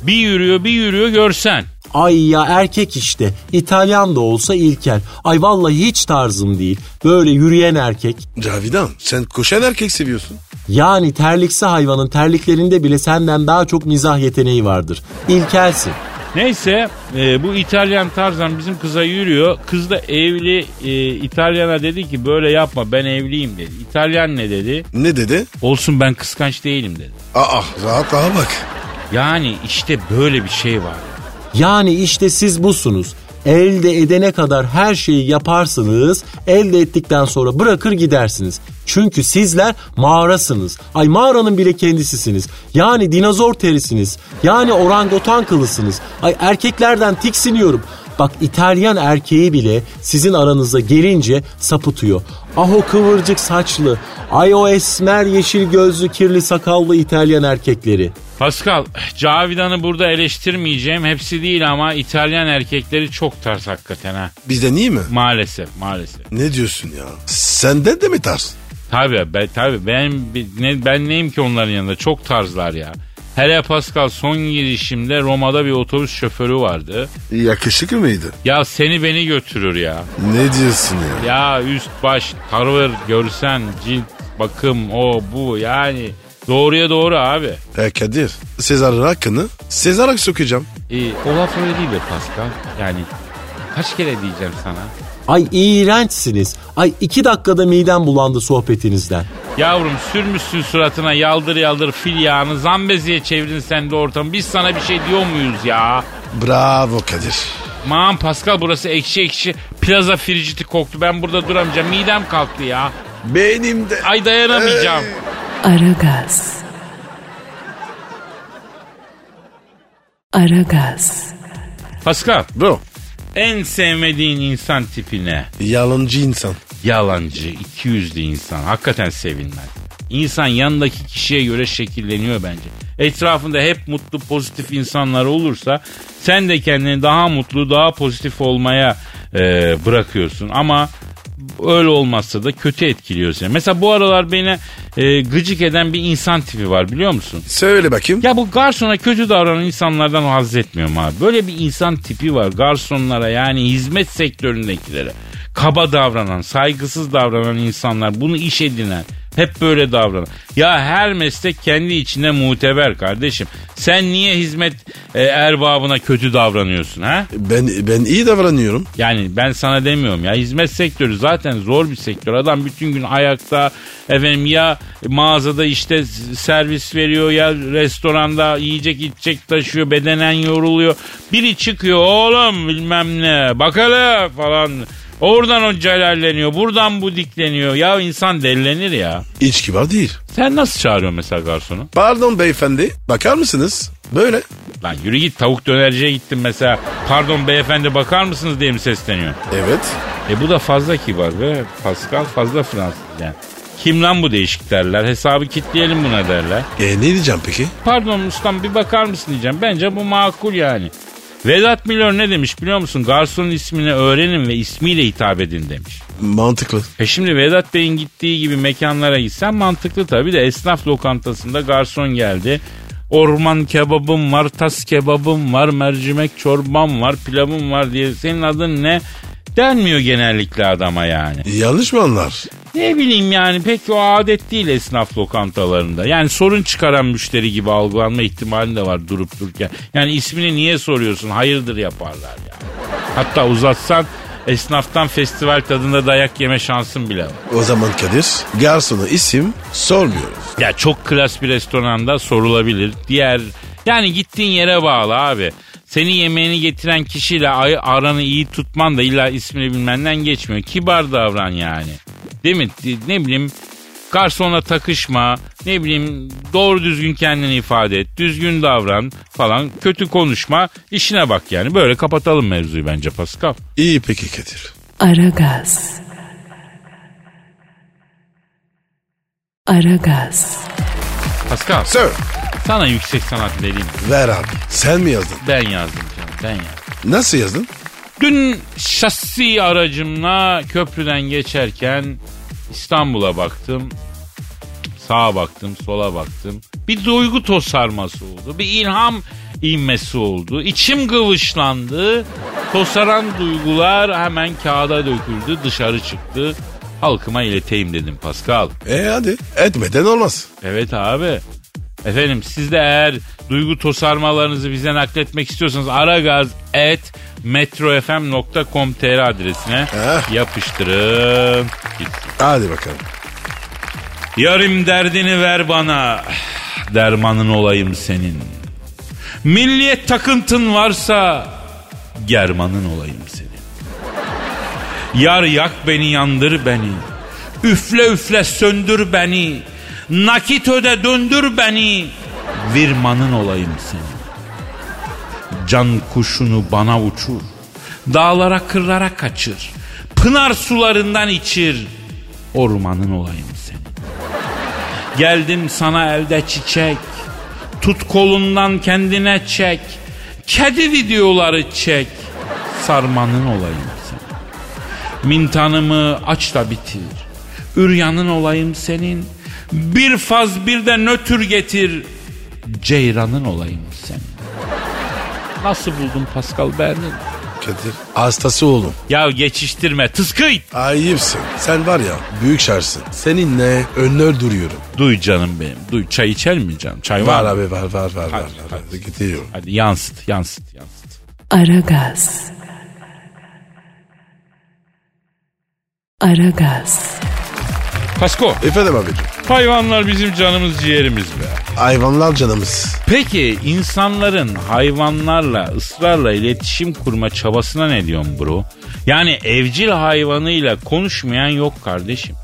S2: Bir yürüyor bir yürüyor görsen.
S4: Ay ya erkek işte. İtalyan da olsa ilkel. Ay vallahi hiç tarzım değil. Böyle yürüyen erkek.
S3: Cavidan sen koşan erkek seviyorsun.
S4: Yani terliksi hayvanın terliklerinde bile senden daha çok mizah yeteneği vardır. İlkelsin.
S2: Neyse e, bu İtalyan Tarzan bizim kıza yürüyor. Kız da evli e, İtalyana dedi ki böyle yapma ben evliyim dedi. İtalyan ne dedi?
S3: Ne dedi?
S2: Olsun ben kıskanç değilim dedi.
S3: Aa rahatlığa bak.
S2: Yani işte böyle bir şey var.
S4: Yani işte siz busunuz.
S6: Elde edene kadar her şeyi yaparsınız. Elde ettikten sonra bırakır gidersiniz. Çünkü sizler mağarasınız. Ay mağaranın bile kendisisiniz. Yani dinozor terisiniz. Yani orangutan kılısınız. Ay erkeklerden tiksiniyorum. Bak İtalyan erkeği bile sizin aranıza gelince sapıtıyor. Ah o kıvırcık saçlı, ay o esmer yeşil gözlü kirli sakallı İtalyan erkekleri.
S2: Pascal, Cavidan'ı burada eleştirmeyeceğim. Hepsi değil ama İtalyan erkekleri çok ters hakikaten ha.
S3: Bizden iyi mi?
S2: Maalesef, maalesef.
S3: Ne diyorsun ya? Sende de mi tarz?
S2: Tabii, ben, tabii ben, bi- ne, ben neyim ki onların yanında? Çok tarzlar ya. Hele Pascal son girişimde Roma'da bir otobüs şoförü vardı.
S3: Yakışıklı mıydı?
S2: Ya seni beni götürür ya.
S3: Ne diyorsun ya?
S2: Ya üst baş tavır görsen cilt bakım o bu yani doğruya doğru abi.
S3: E Kadir, Sezar'ın hakkını Sezar'a sokacağım.
S2: Ee, o laf öyle değil be Pascal. Yani kaç kere diyeceğim sana.
S6: Ay iğrençsiniz. Ay iki dakikada midem bulandı sohbetinizden.
S2: Yavrum sürmüşsün suratına yaldır yaldır fil yağını zambeziye çevirin sen de ortamı. Biz sana bir şey diyor muyuz ya?
S3: Bravo Kadir.
S2: Man Pascal burası ekşi ekşi plaza friciti koktu. Ben burada duramayacağım. Midem kalktı ya.
S3: Benim de.
S2: Ay dayanamayacağım.
S1: Aragaz. Aragaz.
S2: Pascal
S3: Bro,
S2: en sevmediğin insan tipi ne?
S3: yalancı insan.
S2: Yalancı, ikiyüzlü insan. Hakikaten sevilmez. İnsan yanındaki kişiye göre şekilleniyor bence. Etrafında hep mutlu, pozitif insanlar olursa sen de kendini daha mutlu, daha pozitif olmaya e, bırakıyorsun. Ama öyle olmazsa da kötü etkiliyor seni. Mesela bu aralar beni e, gıcık eden bir insan tipi var biliyor musun?
S3: Söyle bakayım.
S2: Ya bu garsona kötü davranan insanlardan haz etmiyorum abi. Böyle bir insan tipi var garsonlara yani hizmet sektöründekilere. Kaba davranan, saygısız davranan insanlar, bunu iş edinen, hep böyle davranan. Ya her meslek kendi içinde muteber kardeşim. Sen niye hizmet e, erbabına kötü davranıyorsun ha?
S3: Ben ben iyi davranıyorum.
S2: Yani ben sana demiyorum ya hizmet sektörü zaten zor bir sektör. Adam bütün gün ayakta efendim ya mağazada işte servis veriyor ya restoranda yiyecek içecek taşıyor bedenen yoruluyor. Biri çıkıyor oğlum bilmem ne bak hele falan. Oradan o celalleniyor buradan bu dikleniyor. Ya insan delilenir ya.
S3: Hiç kibar değil.
S2: Sen nasıl çağırıyorsun mesela garsonu?
S3: Pardon beyefendi. Bakar mısınız? Böyle.
S2: Lan yürü git tavuk dönerciye gittin mesela. Pardon beyefendi bakar mısınız diye mi sesleniyor?
S3: Evet.
S2: E bu da fazla kibar be. Pascal fazla Fransız yani. Kim lan bu değişik derler. Hesabı kitleyelim buna derler.
S3: E ne diyeceğim peki?
S2: Pardon ustam bir bakar mısın diyeceğim. Bence bu makul yani. Vedat Milor ne demiş biliyor musun? Garsonun ismini öğrenin ve ismiyle hitap edin demiş.
S3: Mantıklı.
S2: E şimdi Vedat Bey'in gittiği gibi mekanlara gitsen mantıklı tabii de esnaf lokantasında garson geldi. Orman kebabım var, tas kebabım var, mercimek çorbam var, pilavım var diye senin adın ne denmiyor genellikle adama yani.
S3: Yanlış mı anlar?
S2: Ne bileyim yani pek o adet değil esnaf lokantalarında. Yani sorun çıkaran müşteri gibi algılanma ihtimali de var durup dururken. Yani ismini niye soruyorsun hayırdır yaparlar yani. Hatta uzatsan esnaftan festival tadında dayak yeme şansın bile var.
S3: O zaman Kadir garsona isim sormuyoruz.
S2: Ya çok klas bir restoranda sorulabilir. Diğer yani gittiğin yere bağlı abi. Senin yemeğini getiren kişiyle ay- aranı iyi tutman da illa ismini bilmenden geçmiyor. Kibar davran yani. Değil mi? Di- Ne bileyim garsona takışma, ne bileyim doğru düzgün kendini ifade et, düzgün davran falan, kötü konuşma, işine bak yani. Böyle kapatalım mevzuyu bence Pascal.
S3: İyi peki Kadir.
S1: Aragaz. Aragaz.
S2: Pascal
S3: Sir.
S2: sana yüksek sanat vereyim.
S3: Ver abi. Sen mi yazdın?
S2: Ben yazdım canım, ben yazdım.
S3: Nasıl yazdın?
S2: Dün şasi aracımla köprüden geçerken İstanbul'a baktım. Sağa baktım, sola baktım. Bir duygu tosarması oldu. Bir ilham inmesi oldu. İçim gıvışlandı. Tosaran duygular hemen kağıda döküldü, dışarı çıktı. Halkıma ileteyim dedim Pascal.
S3: E hadi. Etmeden olmaz.
S2: Evet abi. Efendim siz de eğer duygu tosarmalarınızı bize nakletmek istiyorsanız aragaz et metrofm.com.tr adresine
S3: Eh.
S2: yapıştırın. Gitsin.
S3: Hadi bakalım.
S2: Yarim derdini ver bana. Dermanın olayım senin. Milliyet takıntın varsa German'ın olayım seni. Yar yak beni yandır beni. Üfle üfle söndür beni. Nakit öde döndür beni. Virman'ın olayım seni. Can kuşunu bana uçur. Dağlara kırlara kaçır. Pınar sularından içir. Ormanın olayım seni. Geldim sana elde çiçek. Tut kolundan kendine çek. Kedi videoları çek. Sarmanın olayım sen. Mintanımı aç da bitir. Üryanın olayım senin. Bir faz bir de nötr getir. Ceyranın olayım senin. Nasıl buldun Pascal Berlin?
S3: Kadir. Hastası oğlum.
S2: Ya geçiştirme tıskıy.
S3: Ayıpsın. Sen var ya büyük şarsın. Seninle önler duruyorum.
S2: Duy canım benim. Duy çay içer mi canım? Çay var,
S3: Var
S2: mı?
S3: abi var var var var.
S2: Hadi,
S3: var.
S2: hadi.
S3: Gidiyorum.
S2: Hadi yansıt yansıt yansıt.
S1: Aragaz. Aragaz.
S2: Pasko
S3: Efendim abicim.
S2: hayvanlar bizim canımız ciğerimiz be.
S3: Hayvanlar canımız.
S2: Peki insanların hayvanlarla ısrarla iletişim kurma çabasına ne diyorsun bro? Yani evcil hayvanıyla konuşmayan yok kardeşim.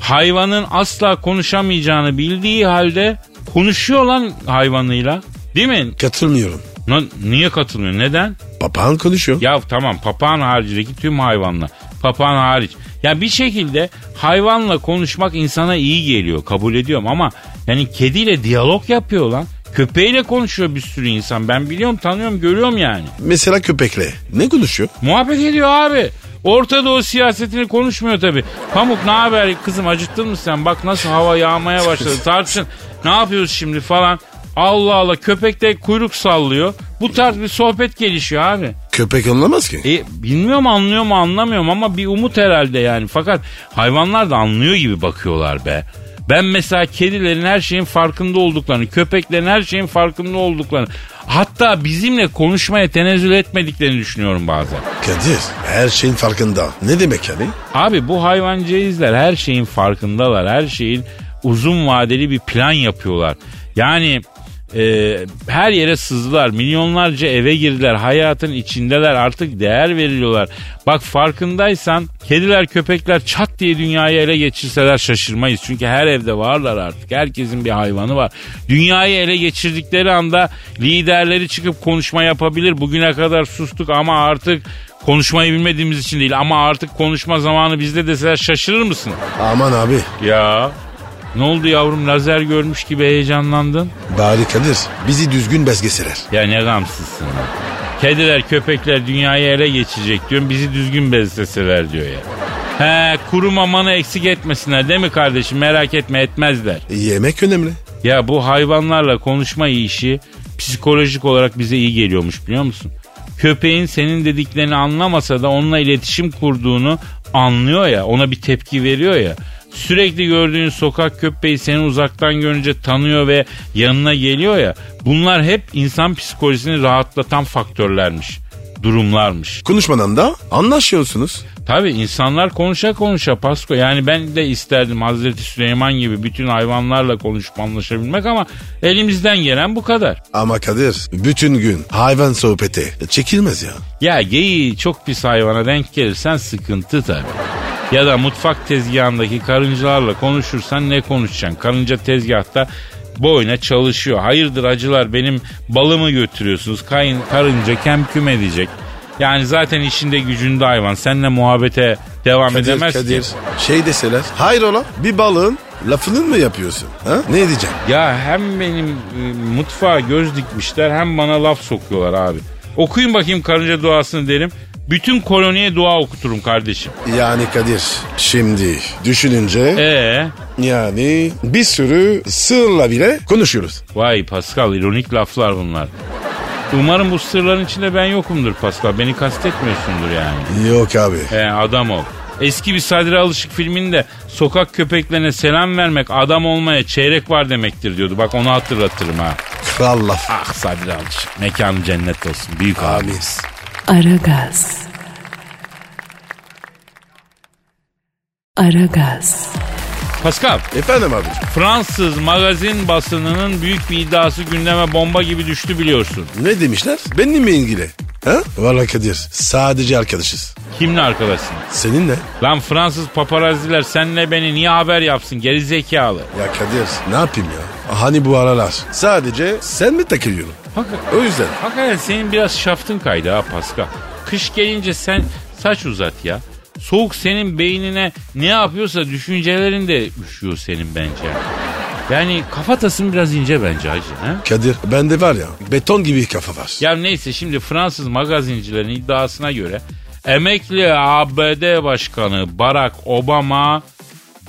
S2: Hayvanın asla konuşamayacağını bildiği halde konuşuyor lan hayvanıyla. Değil mi?
S3: Katılmıyorum.
S2: Lan niye katılmıyor? Neden?
S3: Papağan konuşuyor.
S2: Ya tamam papağan haricindeki tüm hayvanlar. Papağan hariç. Ya bir şekilde hayvanla konuşmak insana iyi geliyor kabul ediyorum ama yani kediyle diyalog yapıyor lan. Köpeğiyle konuşuyor bir sürü insan. Ben biliyorum tanıyorum görüyorum yani.
S3: Mesela köpekle. Ne konuşuyor?
S2: Muhabbet ediyor abi. Orta Doğu siyasetini konuşmuyor tabi. Pamuk ne haber kızım acıktın mı sen? Bak nasıl hava yağmaya başladı tartışın. Ne yapıyoruz şimdi falan. Allah Allah köpek de kuyruk sallıyor. Bu tarz bir sohbet gelişiyor abi.
S3: Köpek anlamaz ki.
S2: E, bilmiyorum anlıyor mu anlamıyorum ama bir umut herhalde yani. Fakat hayvanlar da anlıyor gibi bakıyorlar be. Ben mesela kedilerin her şeyin farkında olduklarını, köpeklerin her şeyin farkında olduklarını, hatta bizimle konuşmaya tenezzül etmediklerini düşünüyorum bazen.
S3: Kadir her şeyin farkında. Ne demek yani?
S2: Abi bu hayvancağızlar her şeyin farkındalar. Her şeyin uzun vadeli bir plan yapıyorlar. Yani e, her yere sızdılar. Milyonlarca eve girdiler. Hayatın içindeler. Artık değer veriliyorlar. Bak farkındaysan kediler köpekler çat diye dünyayı ele geçirseler şaşırmayız. Çünkü her evde varlar artık. Herkesin bir hayvanı var. Dünyayı ele geçirdikleri anda liderleri çıkıp konuşma yapabilir. Bugüne kadar sustuk ama artık Konuşmayı bilmediğimiz için değil ama artık konuşma zamanı bizde deseler şaşırır mısın?
S3: Aman abi.
S2: Ya. Ne oldu yavrum lazer görmüş gibi heyecanlandın?
S3: Bari Kadir bizi düzgün bezgeseler.
S2: Ya ne gamsızsın lan. Kediler köpekler dünyayı ele geçecek diyorum bizi düzgün besleseler diyor ya. He kuru mamanı eksik etmesinler değil mi kardeşim merak etme etmezler.
S3: Yemek önemli.
S2: Ya bu hayvanlarla konuşma işi psikolojik olarak bize iyi geliyormuş biliyor musun? Köpeğin senin dediklerini anlamasa da onunla iletişim kurduğunu anlıyor ya, ona bir tepki veriyor ya. Sürekli gördüğün sokak köpeği seni uzaktan görünce tanıyor ve yanına geliyor ya. Bunlar hep insan psikolojisini rahatlatan faktörlermiş, durumlarmış.
S3: Konuşmadan da anlaşıyorsunuz.
S2: Tabii insanlar konuşa konuşa Pasko. Yani ben de isterdim Hazreti Süleyman gibi bütün hayvanlarla konuşup anlaşabilmek ama elimizden gelen bu kadar.
S3: Ama Kadir bütün gün hayvan sohbeti çekilmez ya.
S2: Ya geyiği çok pis hayvana denk gelirsen sıkıntı tabii. Ya da mutfak tezgahındaki karıncalarla konuşursan ne konuşacaksın? Karınca tezgahta boyuna çalışıyor. Hayırdır acılar benim balımı götürüyorsunuz. Kayın, karınca kem küm edecek. Yani zaten işinde gücünde hayvan. Seninle muhabbete devam edemez ki.
S3: Kadir şey deseler hayrola bir balığın lafını mı yapıyorsun? Ha? Ne diyeceğim?
S2: Ya hem benim e, mutfağa göz dikmişler hem bana laf sokuyorlar abi. Okuyun bakayım karınca duasını derim. Bütün koloniye dua okuturum kardeşim.
S3: Yani Kadir şimdi düşününce
S2: Ee,
S3: yani bir sürü sırla bile konuşuyoruz.
S2: vay Pascal ironik laflar bunlar. Umarım bu sırların içinde ben yokumdur Pascal. Beni kastetmiyorsundur yani.
S3: Yok abi.
S2: He adam ol. Eski bir Sadri Alışık filminde sokak köpeklerine selam vermek adam olmaya çeyrek var demektir diyordu. Bak onu hatırlatırım ha.
S3: Kral laf.
S2: Ah Sadri Alışık. Mekanı cennet olsun. Büyük abi.
S3: Abi.
S1: Aragaz. Aragaz.
S2: Pascal.
S3: Efendim abi.
S2: Fransız magazin basınının büyük bir iddiası gündeme bomba gibi düştü biliyorsun.
S3: Ne demişler? Benimle mi ilgili? Ha? Valla Kadir sadece arkadaşız.
S2: Kimle arkadaşsın?
S3: Seninle.
S2: Lan Fransız paparazziler senle beni niye haber yapsın geri zekalı?
S3: Ya Kadir ne yapayım ya? Hani bu aralar? Sadece sen mi takılıyorsun?
S2: Hakikaten,
S3: O yüzden.
S2: hakikaten senin biraz şaftın kaydı ha Pascal. Kış gelince sen saç uzat ya. Soğuk senin beynine ne yapıyorsa düşüncelerin de üşüyor senin bence. Yani kafatasın biraz ince bence hacı. Ha?
S3: Kadir bende var ya beton gibi kafa var.
S2: Ya neyse şimdi Fransız magazincilerin iddiasına göre emekli ABD Başkanı Barack Obama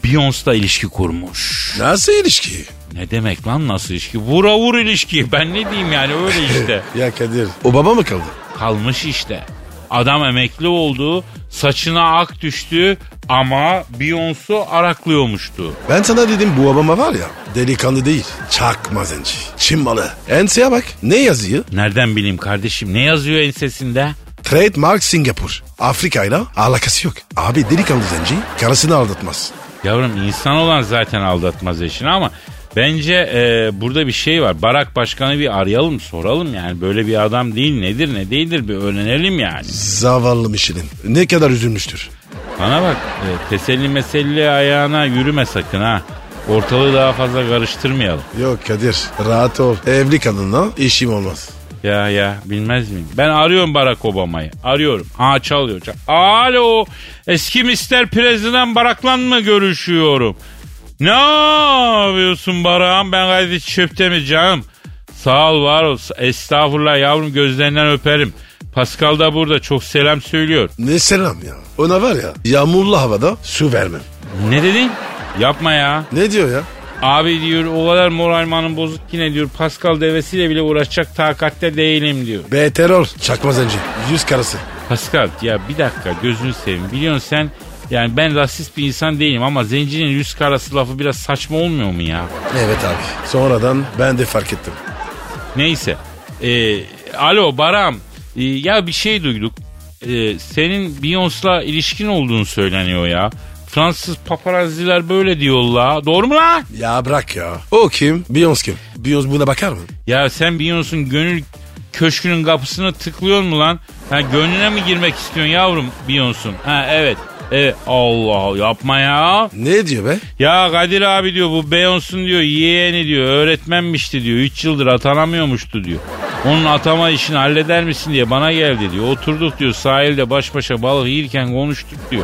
S2: Beyoncé'la ilişki kurmuş.
S3: Nasıl ilişki?
S2: Ne demek lan nasıl ilişki? Vura vur ilişki. Ben ne diyeyim yani öyle işte.
S3: Ya Kadir o baba mı kaldı?
S2: Kalmış işte. Adam emekli oldu, saçına ak düştü ama Beyoncé araklıyormuştu.
S3: Ben sana dedim bu babama var ya delikanlı değil. Çakma zenci. Çin malı. Enseye bak ne yazıyor?
S2: Nereden bileyim kardeşim ne yazıyor ensesinde?
S3: Trademark Singapur. Afrika'yla alakası yok. Abi delikanlı zenci karısını aldatmaz.
S2: Yavrum insan olan zaten aldatmaz eşini ama bence e, burada bir şey var. Barak Başkan'ı bir arayalım soralım yani böyle bir adam değil nedir ne değildir bir öğrenelim yani.
S3: Zavallı Michelin. Ne kadar üzülmüştür.
S2: Bana bak e, teselli meselli ayağına yürüme sakın ha. Ortalığı daha fazla karıştırmayalım.
S3: Yok Kadir rahat ol. Evli kadınla işim olmaz.
S2: Ya ya bilmez miyim? Ben arıyorum Barack Obama'yı. Arıyorum. Aa çalıyor. çal- Alo. Eski Mr. President Barack'la mı görüşüyorum? Ne yapıyorsun Barak'ım? Ben gayet çöpte mi canım? Sağ ol var ol. Estağfurullah yavrum gözlerinden öperim. Pascal da burada çok selam söylüyor.
S3: Ne selam ya. Ona var ya yağmurlu havada su vermem.
S2: Ne dedin? Yapma ya.
S3: Ne diyor ya?
S2: Abi diyor o kadar moralmanın bozuk ki ne diyor. Pascal devesiyle bile uğraşacak takatte değilim diyor.
S3: Beter ol. Çakma zenci. Yüz karısı.
S2: Pascal ya bir dakika gözünü seveyim. Biliyorsun sen yani ben rasist bir insan değilim ama zencinin yüz karası lafı biraz saçma olmuyor mu ya?
S3: Evet abi. Sonradan ben de fark ettim.
S2: Neyse. Ee, alo Baram. Ee, ya bir şey duyduk. Ee, senin Beyoncé'la ilişkin olduğunu söyleniyor ya. Fransız paparazziler böyle diyor la. Doğru mu la?
S3: Ya bırak ya. O kim? Beyoncé kim? Beyoncé buna bakar mı?
S2: Ya sen Beyoncé'un gönül köşkünün kapısını tıklıyor mu lan? Ha gönlüne mi girmek istiyorsun yavrum Beyoncé'un? Ha evet. Evet. Allah Allah yapma ya.
S3: Ne diyor be?
S2: Ya Kadir abi diyor bu Beyoncé'un diyor yeğeni diyor öğretmenmişti diyor. 3 yıldır atanamıyormuştu diyor. Onun atama işini halleder misin diye bana geldi diyor. Oturduk diyor sahilde baş başa balık yiyirken konuştuk diyor.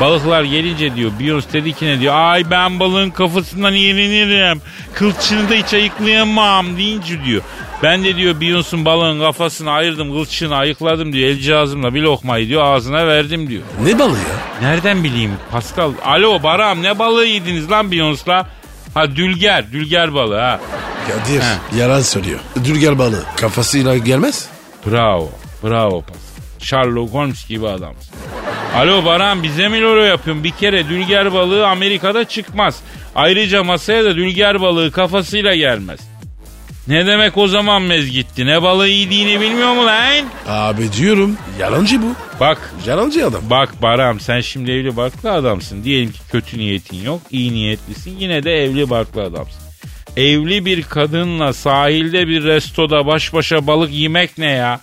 S2: Balıklar gelince diyor Beyoncé dedi ki ne diyor. Ay ben balığın kafasından yenilirim. Kılçığını da hiç ayıklayamam deyince diyor. Ben de diyor Beyoncé'un balığın kafasını ayırdım kılçığını ayıkladım diyor. El cihazımla bir lokmayı diyor ağzına verdim diyor.
S3: Ne balığı ya?
S2: Nereden bileyim Pascal? Alo Baram ne balığı yediniz lan Beyoncé'la? Ha dülger, dülger balığı ha.
S3: Kadir yalan söylüyor. Dülger balığı. Kafasıyla gelmez.
S2: Bravo, bravo Pascal. Sherlock Holmes gibi adamsın. Alo Baran bize mi loro yapıyorsun? Bir kere dülger balığı Amerika'da çıkmaz. Ayrıca masaya da dülger balığı kafasıyla gelmez. Ne demek o zaman mezgitti? Ne balığı yediğini bilmiyor mu lan?
S3: Abi diyorum yalancı bu.
S2: Bak
S3: Yalancı adam.
S2: Bak Baram sen şimdi evli barklı adamsın. Diyelim ki kötü niyetin yok, iyi niyetlisin. Yine de evli barklı adamsın. Evli bir kadınla sahilde bir restoda baş başa balık yemek ne ya?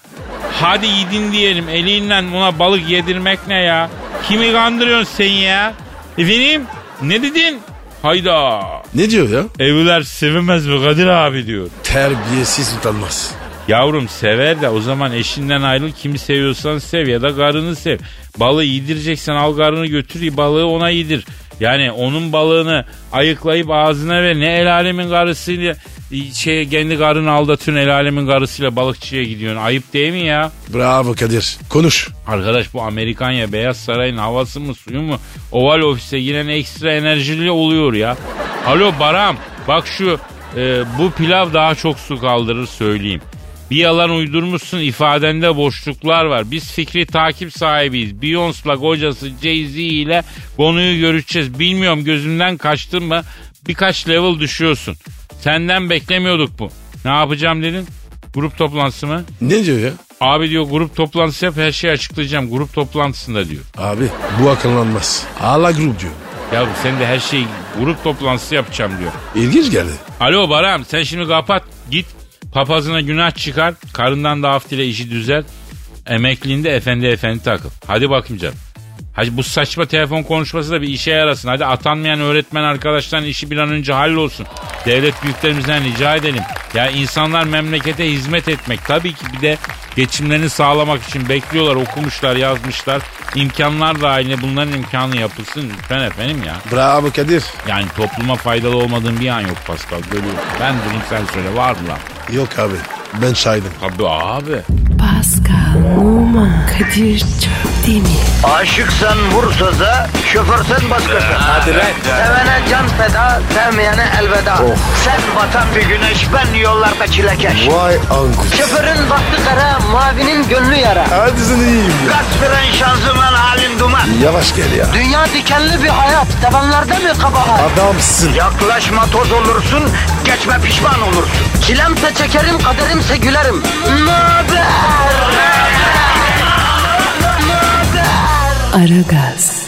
S2: Hadi yedin diyelim elinle ona balık yedirmek ne ya? Kimi kandırıyorsun sen ya? Efendim ne dedin? Hayda
S3: Ne diyor ya?
S2: evliler sevinmez mi Kadir abi diyor.
S3: Terbiyesiz utanmaz.
S2: Yavrum sever de o zaman eşinden ayrıl kimi seviyorsan sev ya da karını sev. Balığı yedireceksen al karını götür balığı ona yedir. Yani onun balığını ayıklayıp ağzına ver. Ne el alemin karısıyla şey kendi karını aldatıyorsun el alemin karısıyla balıkçıya gidiyorsun. Ayıp değil mi ya?
S3: Bravo Kadir. Konuş.
S2: Arkadaş bu Amerikanya Beyaz Saray'ın havası mı suyu mu? Oval ofise giren ekstra enerjili oluyor ya. Alo Baram bak şu e, bu pilav daha çok su kaldırır söyleyeyim. Bir yalan uydurmuşsun ifadende boşluklar var. Biz fikri takip sahibiyiz. Beyoncé'la kocası Jay-Z ile konuyu görüşeceğiz. Bilmiyorum gözümden kaçtın mı birkaç level düşüyorsun. Senden beklemiyorduk bu. Ne yapacağım dedin? Grup toplantısı mı?
S3: Ne diyor ya?
S2: Abi diyor grup toplantısı yap her şeyi açıklayacağım grup toplantısında diyor.
S3: Abi bu akıllanmaz. Ala grup diyor.
S2: Yavrum sen de her şeyi grup toplantısı yapacağım diyor.
S3: İlginç geldi.
S2: Alo Baram sen şimdi kapat git papazına günah çıkar karından da af dile işi düzel. Emekliliğinde efendi efendi takıl. Hadi bakayım canım. Hadi bu saçma telefon konuşması da bir işe yarasın. Hadi atanmayan öğretmen arkadaşların işi bir an önce hallolsun. Devlet büyüklerimizden rica edelim. Ya insanlar memlekete hizmet etmek. Tabii ki bir de geçimlerini sağlamak için bekliyorlar. Okumuşlar, yazmışlar. İmkanlar dahil bunların imkanı yapılsın. Lütfen efendim ya.
S3: Bravo Kadir.
S2: Yani topluma faydalı olmadığın bir an yok Pascal. Görüyorum. Ben durayım sen söyle. Var mı lan?
S3: Yok abi ben şahidim.
S2: Tabii abi.
S1: Pascal, Oman, Kadir çok değil mi?
S7: Aşıksan vursa da, şoförsen başkasın. Hadi
S8: lan.
S7: Sevene can feda, sevmeyene elveda. Sen batan bir güneş, ben yollarda çilekeş.
S3: Vay anku.
S7: Şoförün baktı kara, mavinin gönlü yara.
S3: Hadi sen iyiyim ya.
S7: Kasperen şanzıman halin duman.
S3: Yavaş gel ya.
S7: Dünya dikenli bir hayat, sevenlerde mi kabahar?
S3: Adamsın.
S7: Yaklaşma toz olursun, geçme pişman olursun. Çilemse çekerim, kaderimse gülerim. Möber!
S1: Aragaz.